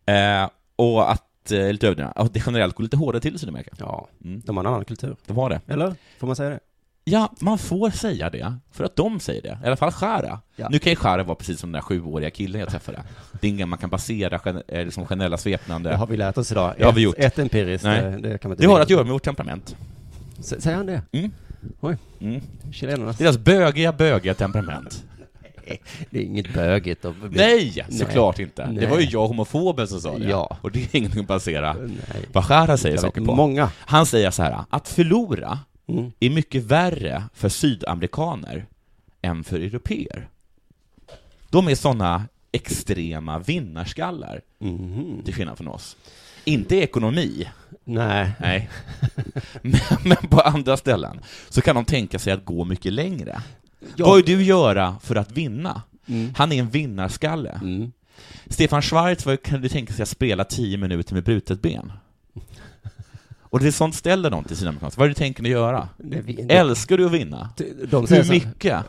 S7: Eh, och att, eh, lite överdrivna, att det generellt går lite hårdare till i Sydamerika.
S6: Ja,
S7: de
S6: har en annan kultur.
S7: De har det.
S6: Eller? Får man säga det?
S7: Ja, man får säga det, för att de säger det. I alla fall Skära.
S6: Ja.
S7: Nu kan ju Skära vara precis som den där sjuåriga killen jag träffade. Det är inga man kan basera gen- eh, liksom generella svepnande...
S6: Det har vi lärt oss idag.
S7: Det har vi
S6: Ett-
S7: gjort.
S6: ett empiriskt,
S7: Nej.
S6: eh, det kan man inte
S7: Det har
S6: veta.
S7: att göra med vårt temperament.
S6: S- säger han det?
S7: Mm.
S6: Oj.
S7: Mm.
S6: Chilenarnas.
S7: Deras bögiga, bögiga temperament.
S6: Det är inget bögigt och...
S7: Nej, såklart inte. Det
S6: Nej.
S7: var ju jag, homofoben, som sa det.
S6: Ja.
S7: Och det är ingenting att basera vad Skära säger
S6: Jag vet
S7: saker på.
S6: många.
S7: Han säger så här, att förlora
S6: Mm.
S7: är mycket värre för sydamerikaner än för europeer. De är sådana extrema vinnarskallar, till skillnad från oss. Inte i ekonomi,
S6: Nej.
S7: nej. men, men på andra ställen så kan de tänka sig att gå mycket längre.
S6: Ja. Mm.
S7: Vad vill du göra för att vinna? Han är en vinnarskalle. Stefan Schwarz var, kunde tänka sig att spela 10 minuter med brutet ben. Och det är sånt ställer de till sina amerikanska. Vad är det du tänker ni göra?
S6: Det vi- det-
S7: Älskar du att vinna?
S6: de säger
S7: Hur
S6: så-
S7: mycket?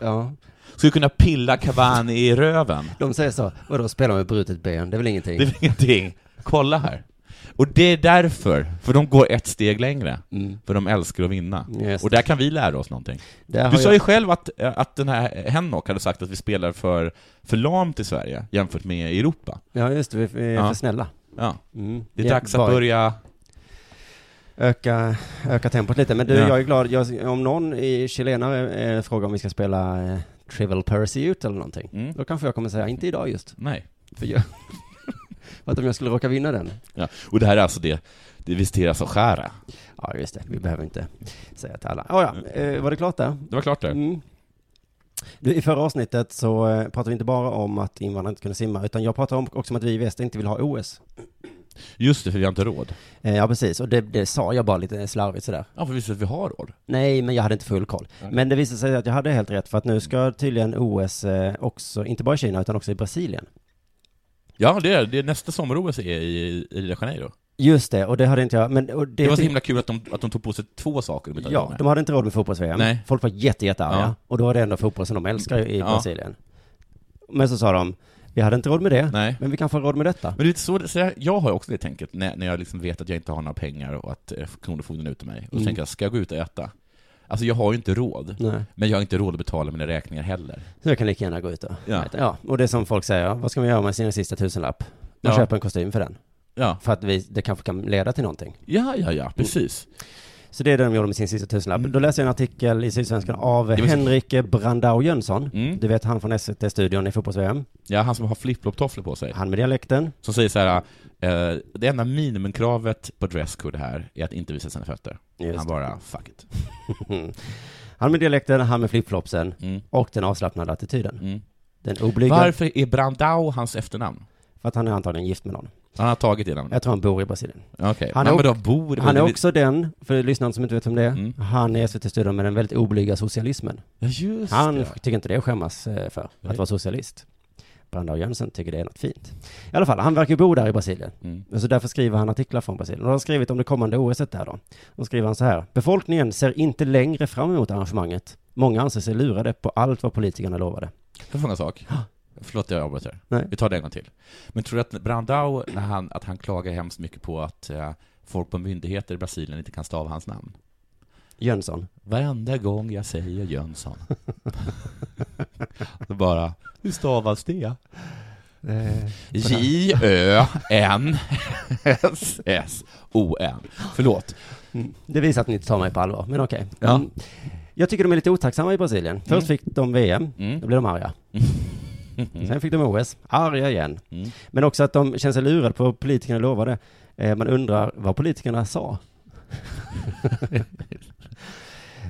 S7: Skulle kunna pilla Cavani i röven?
S6: De säger så, vadå spelar med brutet ben, det är väl ingenting?
S7: Det är väl ingenting. Kolla här. Och det är därför, för de går ett steg längre.
S6: Mm.
S7: För de älskar att vinna.
S6: Just.
S7: Och där kan vi lära oss någonting.
S6: Där har
S7: du sa
S6: jag-
S7: ju själv att, eh, att den här Henok hade sagt att vi spelar för, för lamt i Sverige jämfört med Europa.
S6: Ja just det, vi vi är
S7: Ja.
S6: för snälla.
S7: Ja.
S6: Mm.
S7: Det är
S6: Ja,
S7: dags att
S6: bara-
S7: börja...
S6: Öka, öka tempot lite. Men du,
S7: Ja.
S6: jag är glad, jag, om någon i chilenare eh, frågar om vi ska spela eh, Trivial Pursuit eller någonting,
S7: Mm.
S6: då kanske jag kommer säga, inte idag just.
S7: Nej.
S6: För jag, för att om jag skulle råka vinna den.
S7: Ja. Och det här är alltså det, det visiteras av skära.
S6: Ja, just det. Vi behöver inte säga till alla. Oh, ja. eh, var det klart där?
S7: Det var klart där.
S6: Mm. Du, I förra avsnittet så eh, pratade vi inte bara om att invandrare inte kunde simma, utan jag pratade om, också om att vi i väst inte vill ha OS.
S7: Just det, för vi har inte råd.
S6: Eh, ja, precis. Och det, det sa jag bara lite slarvigt sådär.
S7: Ja, för visst att vi har råd.
S6: Nej, men jag hade inte full koll. Men det visade sig att jag hade helt rätt, för att nu ska tydligen OS eh, också, inte bara i Kina, utan också i Brasilien.
S7: Ja, det är, det är nästa sommar-OS är i, i Rio de Janeiro.
S6: Just det, och det hade inte jag, men och
S7: Det,
S6: det,
S7: var så
S6: ty-
S7: himla kul att de, att de tog på sig två saker. de inte hade
S6: Ja,
S7: råd med.
S6: de hade inte råd med fotbolls-VM.
S7: Nej.
S6: Folk var jätte, jättearga.
S7: Ja.
S6: Och då var det ändå fotboll som de älskar i
S7: Ja.
S6: Brasilien. Men så sa de, vi hade inte råd med det,
S7: Nej.
S6: men vi kan få råd med detta.
S7: Men det är så, det- så här, jag har också det tänket när, när jag liksom vet att jag inte har några pengar och att eh, Kronofogden är ute mig. Och så
S6: Mm.
S7: tänker jag, ska jag gå ut och äta? Alltså jag har ju inte råd,
S6: Nej.
S7: men jag har inte råd att betala mina räkningar heller.
S6: Så jag kan lika gärna gå ut och
S7: Ja.
S6: äta. ja. Och det är som folk säger, vad ska man göra med sina sista tusenlapp? Man
S7: Ja.
S6: köper en kostym för den.
S7: Ja.
S6: För att vi, det kanske kan leda till någonting.
S7: Ja, ja, ja, precis.
S6: Så det är det de gjorde med sin sista tusenlapp.
S7: Mm.
S6: Då läste jag en artikel i Sydsvenskan av
S7: Det var så-
S6: Henrik Brandao Jönsson.
S7: Mm.
S6: Du vet han från SVT-studion i fotbolls-VM.
S7: Ja, han som har flip-flop-tofflor på sig.
S6: Han med dialekten.
S7: Som säger så här, eh, det enda minimikravet på dresscode här är att inte visa sina fötter.
S6: Just
S7: han
S6: det.
S7: bara, fuck it.
S6: han med dialekten, han med flipflopsen och den avslappnade attityden. Den oblyga.
S7: Mm. Varför är Brandau hans efternamn?
S6: För att han är antagligen gift med någon.
S7: Han har tagit det namnet.
S6: Jag tror han bor i Brasilien.
S7: Okej, men
S6: ok-
S7: vadå bor?
S6: han är också den, för lyssnaren som inte vet vem det är,
S7: Mm.
S6: han är SVT-studion med den väldigt oblyga socialismen.
S7: Ja, just
S6: han
S7: det.
S6: tycker inte det att skämmas eh, för,
S7: Nej.
S6: att vara socialist. Brandao Jönsson tycker det är något fint. I alla fall, han verkar ju bo där i Brasilien.
S7: Mm.
S6: Och Så därför skriver han artiklar från Brasilien. Och han har skrivit om det kommande OSet där då. Då skriver han så här. Befolkningen ser inte längre fram emot arrangemanget. Många anser sig lurade på allt vad politikerna lovade.
S7: Får jag fråga en sak? Förlåt, jag avbröt här.
S6: Nej.
S7: Vi tar det en gång till. Men tror du att Brandau, när han, att han klagar hemskt mycket på att eh, folk på myndigheter i Brasilien inte kan stava hans namn?
S6: Jönsson.
S7: Varenda gång jag säger Jönsson. Då bara, hur stavas det? J-Ö-N-S-S-O-N. Förlåt.
S6: Det visar att ni inte tar mig på allvar, men okej.
S7: Ja.
S6: Mm. Jag tycker de är lite otacksamma i Brasilien. Först
S7: Mm.
S6: fick de VM,
S7: Mm.
S6: då blev de arga. Sen fick de OS, arga igen.
S7: Mm.
S6: Men också att de känner sig lurade på vad politikerna lovade. Eh, Man undrar vad politikerna sa.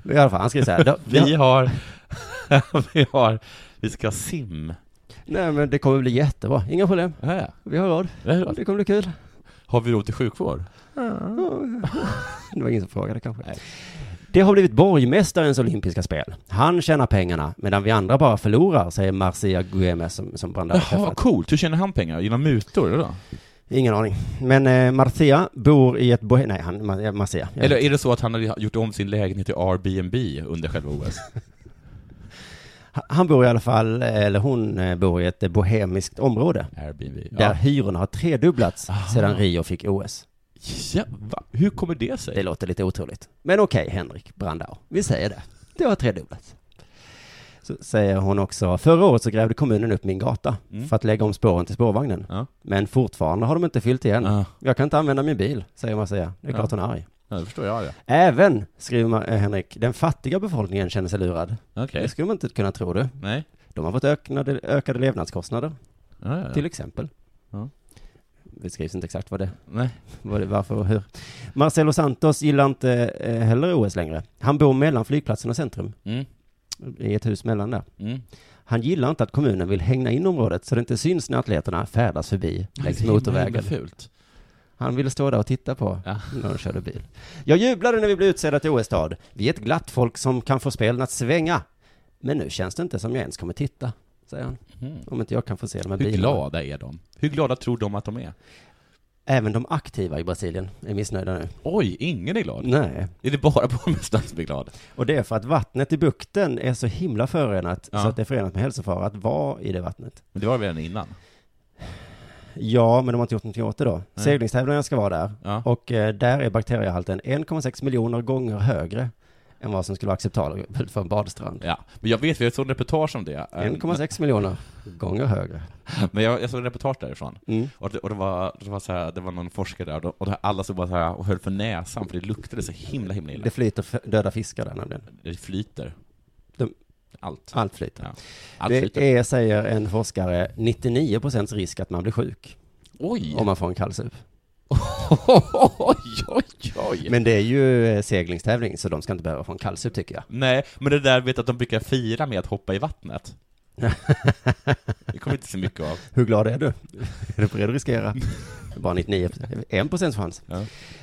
S6: I alla fall, han skriver så här. "Då-
S7: Vi har, vi har, vi ska ha sim.
S6: Nej men det kommer bli jättebra, inga problem.
S7: Ja.
S6: Vi har råd.
S7: Vi har råd.
S6: Det kommer bli kul.
S7: Har vi råd till sjukvård?
S6: Det var ingen som frågade kanske. Det har blivit borgmästarens olympiska spel. Han tjänar pengarna medan vi andra bara förlorar, säger Marcia Guemes som, som Brandao har
S7: Jaha,
S6: träffat.
S7: vad coolt. Hur tjänar han pengar? Genom mutor, eller? då?
S6: Ingen aning. Men eh, Marcia bor i ett bohe... Nej, han, Mar- Marcia. Jag
S7: Eller
S6: vet.
S7: är det så att han har gjort om sin lägenhet till Airbnb under själva OS?
S6: Han bor i alla fall, eh, eller hon eh, bor i ett eh, bohemiskt område.
S7: Airbnb.
S6: Där
S7: Ja.
S6: hyrorna har tredubblats sedan Rio fick OS.
S7: Ja, va? Hur kommer det sig?
S6: Det låter lite otroligt. Men okej, Henrik Brandau. Vi säger det. Det har tredubblats. Så säger hon också, förra året så grävde kommunen upp min gata
S7: Mm.
S6: för att lägga om spåren till spårvagnen. Men fortfarande har de inte fyllt igen. Jag kan inte använda min bil, säger man säga. Det är
S7: Ja.
S6: klart hon är arg.
S7: Ja, det förstår jag det.
S6: Även, skriver man, eh, Henrik, den fattiga befolkningen känner sig lurad.
S7: Okej.
S6: Det skulle man inte kunna tro du.
S7: Nej.
S6: De har fått ökade, ökade levnadskostnader.
S7: Ja, ja, ja.
S6: Till exempel.
S7: Ja.
S6: Det skrivs inte exakt vad det
S7: Nej.
S6: vad det, varför och hur. Marcelo Santos gillar inte eh, heller OS längre. Han bor mellan flygplatsen och centrum.
S7: Mm.
S6: I ett hus mellan där.
S7: Mm.
S6: Han gillar inte att kommunen vill hägna in området så det inte syns när atleterna färdas förbi längs
S7: Det är liksom himla,
S6: motorvägen.
S7: himla fult.
S6: Han ville stå där och titta på
S7: Ja.
S6: när de körde bil. Jag jublade när vi blev utsedda till OS-stad. Vi är ett glatt folk som kan få spelen att svänga. Men nu känns det inte som jag ens kommer titta, säger han. Om inte jag kan få se de här
S7: Hur
S6: bilarna.
S7: glada är de? Hur glada tror de att de är?
S6: Även de aktiva i Brasilien är missnöjda nu.
S7: Oj, ingen är glad?
S6: Nej.
S7: Är det bara borgmästaren som är glad?
S6: Och det är för att vattnet i bukten är så himla förorenat
S7: Ja.
S6: så att det är förenat med hälsofara att vara i det vattnet.
S7: Men det var det redan innan?
S6: Ja, men de har inte gjort någonting åt det då. Seglingstävlingarna ska vara där.
S7: Ja.
S6: Och eh, där är bakteriehalten 1,6 miljoner gånger högre än vad som skulle vara acceptabelt för en badstrand.
S7: Ja, men jag vet, jag såg en reportage om det. Eh,
S6: 1,6 miljoner gånger högre.
S7: Men jag, jag såg en reportage därifrån.
S6: Mm.
S7: Och, det, och det, var, det, var så här, det var någon forskare där, och, då- och det, alla stod bara så här och höll för näsan, för det luktade så himla, himla illa.
S6: Det flyter f- döda fiskar där nämligen.
S7: Det flyter.
S6: De-
S7: Allt.
S6: Allt flyter.
S7: Ja. Allt
S6: det
S7: flyter.
S6: är, säger en forskare, 99% risk att man blir sjuk.
S7: Oj.
S6: Om man får en kallsup.
S7: Oj, oj, oj.
S6: Men det är ju eh, seglingstävling, så de ska inte behöva få en kallsup tycker jag.
S7: Nej, men det där vet jag att de brukar fira med att hoppa i vattnet. Det kommer inte så mycket av.
S6: Hur glad är du? Är du beredd att riskera? Bara 99, 1% chans.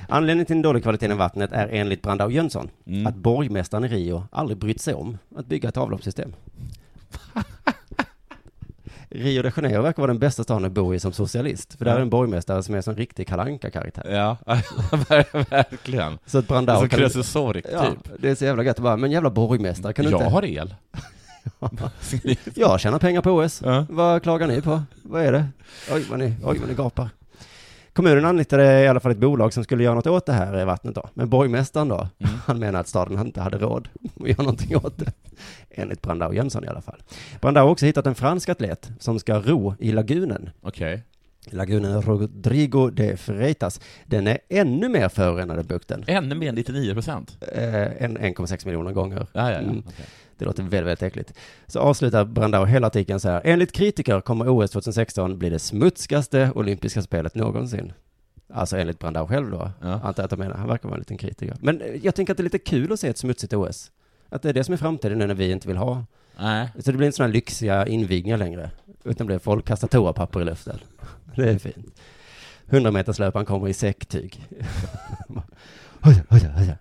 S6: Anledningen till den dåliga kvaliteten i vattnet är enligt Brandao Jönsson att borgmästaren i Rio aldrig brytt sig om att bygga ett avloppssystem. Rio de Janeiro verkar vara den bästa staden att bo i som socialist, för där är en borgmästare som är som en riktig kalanka karaktär
S7: Ja, ver- verkligen.
S6: Så att Brandao...
S7: Som
S6: kan-
S7: Krösus-Sork, typ.
S6: Ja, det är så jävla gött att bara, men jävla borgmästare, kan du
S7: jag
S6: inte...
S7: har el.
S6: Jag tjänar pengar på OS. Vad klagar ni på? Vad är det? Oj, vad ni, oj, vad ni gapar. Kommunen anlitade i alla fall ett bolag som skulle göra något åt det här i vattnet då. Men borgmästaren då,
S7: Mm.
S6: han menar att staden inte hade råd att göra någonting åt det. Enligt Brandao Jönsson i alla fall. Brandao har också hittat en fransk atlet som ska ro i lagunen.
S7: Okej.
S6: Lagunen Rodrigo de Freitas. Den är ännu mer förorenad än bukten.
S7: Ännu mer än 99 procent.
S6: Eh, en- 1,6 miljoner gånger.
S7: Ja, ja, ja.
S6: Mm.
S7: Okej.
S6: Det låter väldigt, väldigt äckligt. Så avslutar Brandao hela artikeln så här. Enligt kritiker kommer OS 2016 bli det smutskaste olympiska spelet någonsin. Alltså enligt Brandao själv då. Antar jag att de menar. Han verkar vara en liten kritiker. Men eh, jag tänker att det är lite kul att se ett smutsigt OS. Att det är det som är framtiden nu när vi inte vill ha.
S7: Nej.
S6: Så det blir inte sådana lyxiga invigningar längre. Utan det blir folk kastar toapapper i luften. Det är fint. 100-meterslöparen kommer i säcktyg. Oj, oj, oj.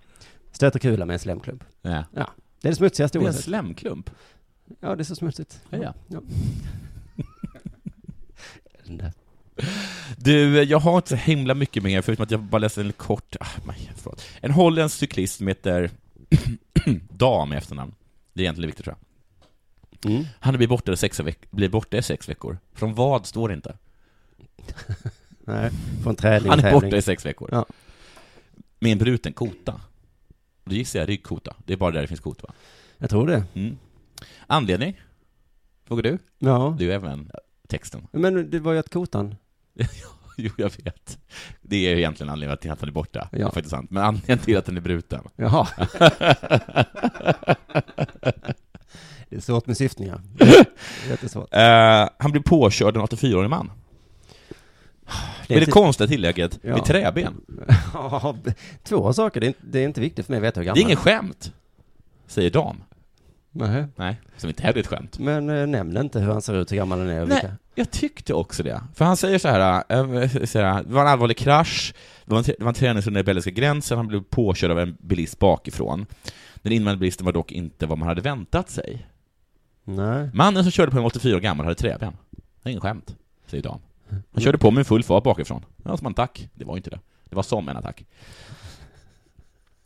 S6: Stöter kula med en slemklump.
S7: Ja.
S6: Ja, det är det smutsigaste
S7: Det är en
S6: oavsett.
S7: slemklump.
S6: Ja, det är så smutsigt.
S7: Ja, ja.
S6: Nej.
S7: Du, eh, jag har inte så himla mycket mer, förutom att jag bara läste en kort... Ah, nej, förlåt. En holländsk cyklist som heter Dam i efternamn. Det är egentligen viktigt tror
S6: jag.
S7: Han blir borta, i sex veck- blir borta i sex veckor. Från vad står det inte.
S6: Nej, från träning
S7: Han är
S6: tävling.
S7: borta i sex veckor.
S6: Ja.
S7: Med en bruten kota. Då gissar jag ryggkota. Det är bara där det finns kota va?
S6: Jag tror det.
S7: Mm. Anledning? Frågar du?
S6: Ja.
S7: Du är även texten.
S6: Men det var ju att kotan.
S7: Jo, jag vet. Det är ju egentligen anledningen till att han är borta. Det är
S6: Ja.
S7: faktiskt sant. Men anledningen till att den är bruten.
S6: Jaha. det är svårt med syftningar. Jättesvårt.
S7: Eh, han blev påkörd av en 84-årig man. Det är typ- det
S6: inte-
S7: konstiga tillägget,
S6: Ja.
S7: med träben.
S6: Ja, Två saker. Det är, inte, det är inte viktigt för mig att veta hur gammal.
S7: Det är ingen skämt, säger dam.
S6: Nej.
S7: Nej, som inte heller är ett skämt.
S6: Men eh, nämn inte hur han ser ut, hur gammal han är och
S7: Nej,
S6: vilka.
S7: jag tyckte också det. För han säger så här, eh, så här det var en allvarlig krasch, det var en, det var en träningsrunda i belgiska gränsen, han blev påkörd av en bilist bakifrån. Den invändande bilisten var dock inte vad man hade väntat sig.
S6: Nej.
S7: Mannen som körde på en 84 år gammal hade träben. Det är ingen skämt, säger dam. Han körde på med full fart bakifrån. Det var som en attack. Det var inte det. Det var som en attack.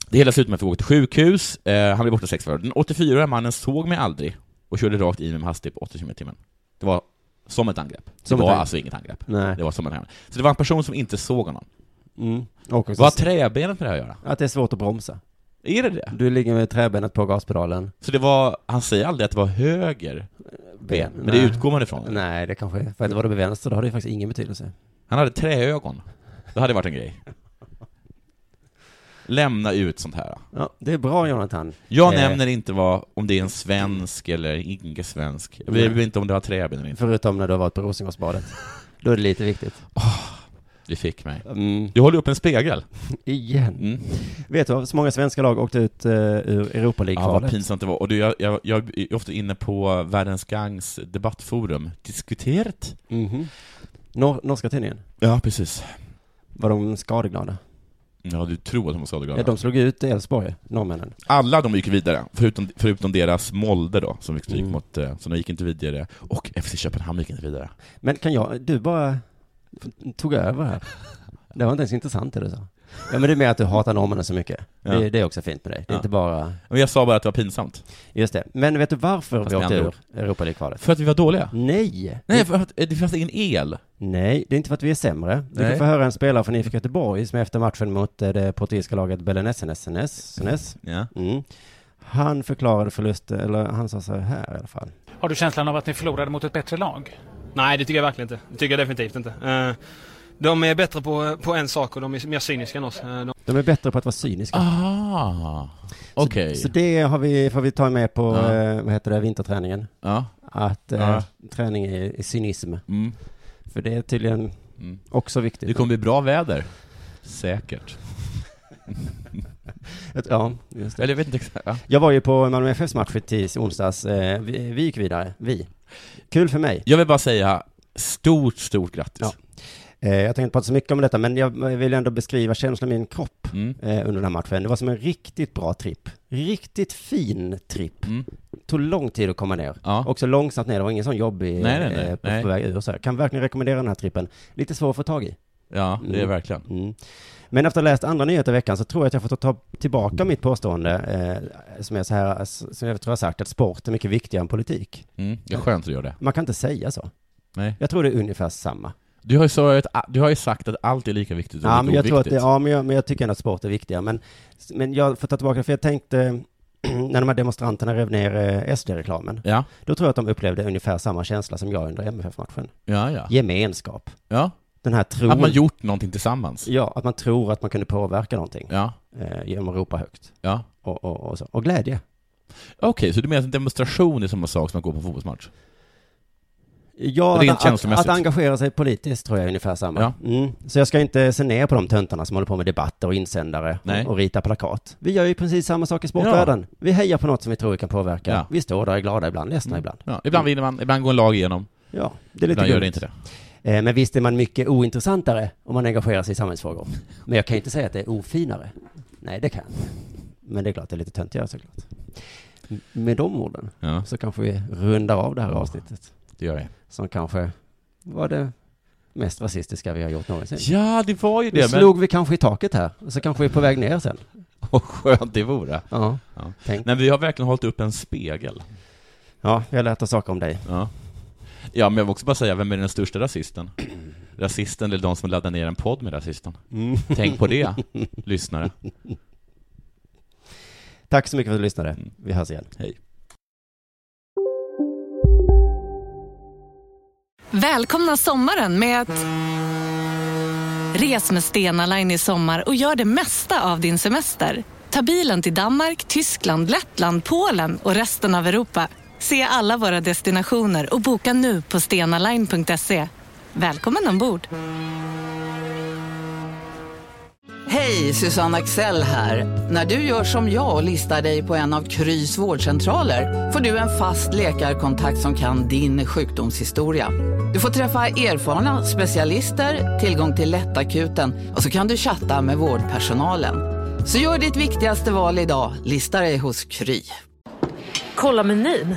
S7: Det hela slutade med att vi åkte till sjukhus. Eh, han blev borta sex veckor. Den 84-åriga mannen såg mig aldrig och körde rakt in i mig med hastighet på 80 km i timmen. Det var som ett angrepp.
S6: Som ett
S7: det var
S6: angrepp.
S7: alltså inget angrepp.
S6: Nej.
S7: Det var som ett angrepp. Så det var en person som inte såg honom.
S6: Mm. Och också
S7: Vad har träbenet med det här att göra?
S6: Att det är svårt att bromsa.
S7: Är det det?
S6: Du ligger med träbenet på gaspedalen.
S7: Så det var, han säger aldrig att det var höger ben, men det
S6: Nej.
S7: utgår man ifrån.
S6: Nej, det kanske är. För att var det med vänster, då har det ju faktiskt ingen betydelse.
S7: Han hade träögon. Det hade varit en grej. Lämna ut sånt här.
S6: Ja, det är bra Jonathan.
S7: Jag
S6: Eh,
S7: nämner inte vad, om det är en svensk eller inte svensk. Jag bryr mig inte om det har träben eller inte.
S6: Förutom när du har varit på Rosengårdsbadet. Då är det lite viktigt.
S7: Du fick mig.
S6: Mm.
S7: Du håller upp en spegel.
S6: Igen. Vet du vad så många svenska lag åkte ut eh, ur Europa
S7: Ja, vad
S6: League-kvalet?
S7: pinsamt det var. Och du, jag, jag, jag är ofta inne på Världens Gangs debattforum. Diskuterat.
S6: Mhm. Nor- norska tidningen?
S7: Ja, precis.
S6: Var de skadeglada?
S7: Ja, du tror att de var
S6: Ja,
S7: skadeglada?
S6: de slog ut Elfsborg, norrmännen.
S7: Alla de gick vidare, förutom, förutom deras Molde då, som fick stryk mot, eh, så de gick inte vidare, och FC Köpenhamn gick inte vidare.
S6: Men kan jag, du bara tog över här. Det var inte ens intressant det du sa. Ja men det är mer att du hatar norrmännen så mycket.
S7: Ja.
S6: Det, det är också fint med dig. Det är
S7: Ja.
S6: inte bara...
S7: Men jag sa bara att det var pinsamt.
S6: Just det. Men vet du varför
S7: Fast
S6: vi
S7: med
S6: åkte
S7: andra
S6: ur
S7: ord.
S6: Europa League-kvalet?
S7: För att vi var dåliga?
S6: Nej!
S7: Nej, för att eh, det fanns ingen el.
S6: Nej, det är inte för att vi är sämre. Vi
S7: Nej.
S6: kan få höra en spelare från IFK Göteborg som efter matchen mot eh, det portugisiska laget Belenesenes,
S7: ja.
S6: mm. han förklarade förlusten, eller han sa så här i alla fall.
S14: Har du känslan av att ni förlorade mot ett bättre lag?
S15: Nej, det tycker jag verkligen inte. Det tycker jag definitivt inte. Eh, De är bättre på, på en sak och de är mer cyniska än oss. Eh, De...
S6: De är bättre på att vara cyniska.
S7: Ah, okej.
S6: Så, så det har vi, får vi ta med på,
S7: Ja.
S6: eh, vad heter det, vinterträningen.
S7: Ja.
S6: Att eh,
S7: Ja.
S6: träning är, är cynism.
S7: Mm.
S6: För det är tydligen också viktigt.
S7: Det kommer bli bra väder. Säkert.
S6: Ja, just det.
S7: Eller jag vet inte exakt. Ja.
S6: Jag var ju på Malmö FFs match i tis, onsdags. Eh, vi, vi gick vidare, vi. Kul för mig.
S7: Jag vill bara säga stort, stort grattis.
S6: Ja. Eh, jag tänkte inte prata så mycket om detta, men jag vill ändå beskriva känslan i min kropp
S7: Mm.
S6: eh, under den här matchen. Det var som en riktigt bra tripp. Riktigt fin tripp.
S7: Mm.
S6: Tog lång tid att komma ner. Också långsamt ner, det var ingen sån jobbig
S7: Nej, nej, nej.
S6: eh, på,
S7: Nej.
S6: på väg ur. Så här. Kan verkligen rekommendera den här trippen. Lite svår att få tag i.
S7: Ja, det är verkligen.
S6: Mm. Men efter att ha läst andra nyheter i veckan så tror jag att jag får ta tillbaka mitt påstående, eh, som är så här, som jag tror jag har sagt, att sport är mycket viktigare än politik.
S7: Mm, det är skönt att du gör det.
S6: Man kan inte säga så.
S7: Nej.
S6: Jag tror det är ungefär samma.
S7: Du har, ju sagt, du har ju sagt att allt är lika viktigt som
S6: Ja, men jag tror att det,
S7: oviktigt.
S6: ja men, jag, men jag tycker ändå att sport är viktigare. Men, men jag får ta tillbaka det, för jag tänkte, när de här demonstranterna rev ner eh, SD-reklamen,
S7: Ja.
S6: då tror jag att de upplevde ungefär samma känsla som jag under MFF-matchen.
S7: Ja, ja.
S6: Gemenskap.
S7: Ja.
S6: Den här tron.
S7: Att man gjort någonting tillsammans.
S6: Ja, att man tror att man kunde påverka någonting.
S7: Ja.
S6: Eh, genom att ropa högt.
S7: Ja.
S6: Och, och, och, så. och glädje.
S7: Okej, så du menar att en demonstration är samma sak som att gå på en fotbollsmatch?
S6: Ja,
S7: Rent
S6: att, att,
S7: känslomässigt.
S6: att engagera sig politiskt tror jag är ungefär samma.
S7: Ja.
S6: Mm. Så jag ska inte se ner på de töntarna som håller på med debatter och insändare
S7: Nej.
S6: och, och rita plakat. Vi gör ju precis samma sak i sportvärlden. Vi hejar på något som vi tror vi kan påverka.
S7: Ja.
S6: Vi står där och är glada ibland, ledsna ibland.
S7: Ja, ibland vinner man, ibland går en lag igenom.
S6: Ja, det är Mm. lite
S7: ibland gör det
S6: gulligt.
S7: inte det.
S6: Eh, Men visst är man mycket ointressantare om man engagerar sig i samhällsfrågor. Men jag kan ju inte säga att det är ofinare. Nej, det kan jag inte. Men det är klart, det är lite töntigare såklart. M- Med de orden
S7: Ja.
S6: så kanske vi rundar av det här avsnittet.
S7: Det gör vi.
S6: Som kanske var det mest rasistiska vi har gjort någonsin.
S7: Ja, det var ju
S6: Nu
S7: det, men-
S6: slog vi kanske i taket här, och så kanske vi är på väg ner sen.
S7: Vad skönt det vore.
S6: Ja.
S7: Ja.
S6: Tänk.
S7: Men vi har verkligen hållit upp en spegel.
S6: Ja, jag har lärt oss saker om dig.
S7: Ja. Ja, men jag vill också bara säga, vem är den största rasisten? Rasisten eller de som laddar ner en podd med rasisten?
S6: Mm.
S7: Tänk på det, lyssnare.
S6: Tack så mycket för att du lyssnade. Vi hörs igen.
S7: Mm. Hej.
S16: Välkomna sommaren med att... Res med Stena Line i sommar och gör det mesta av din semester. Ta bilen till Danmark, Tyskland, Lettland, Polen och resten av Europa. Se alla våra destinationer och boka nu på stenaline.se. Välkommen ombord!
S17: Hej, Susanne Axel här. När du gör som jag och listar dig på en av Krys vårdcentraler får du en fast läkarkontakt som kan din sjukdomshistoria. Du får träffa erfarna specialister, tillgång till lättakuten och så kan du chatta med vårdpersonalen. Så gör ditt viktigaste val idag, lista dig hos Kry.
S18: Kolla menyn.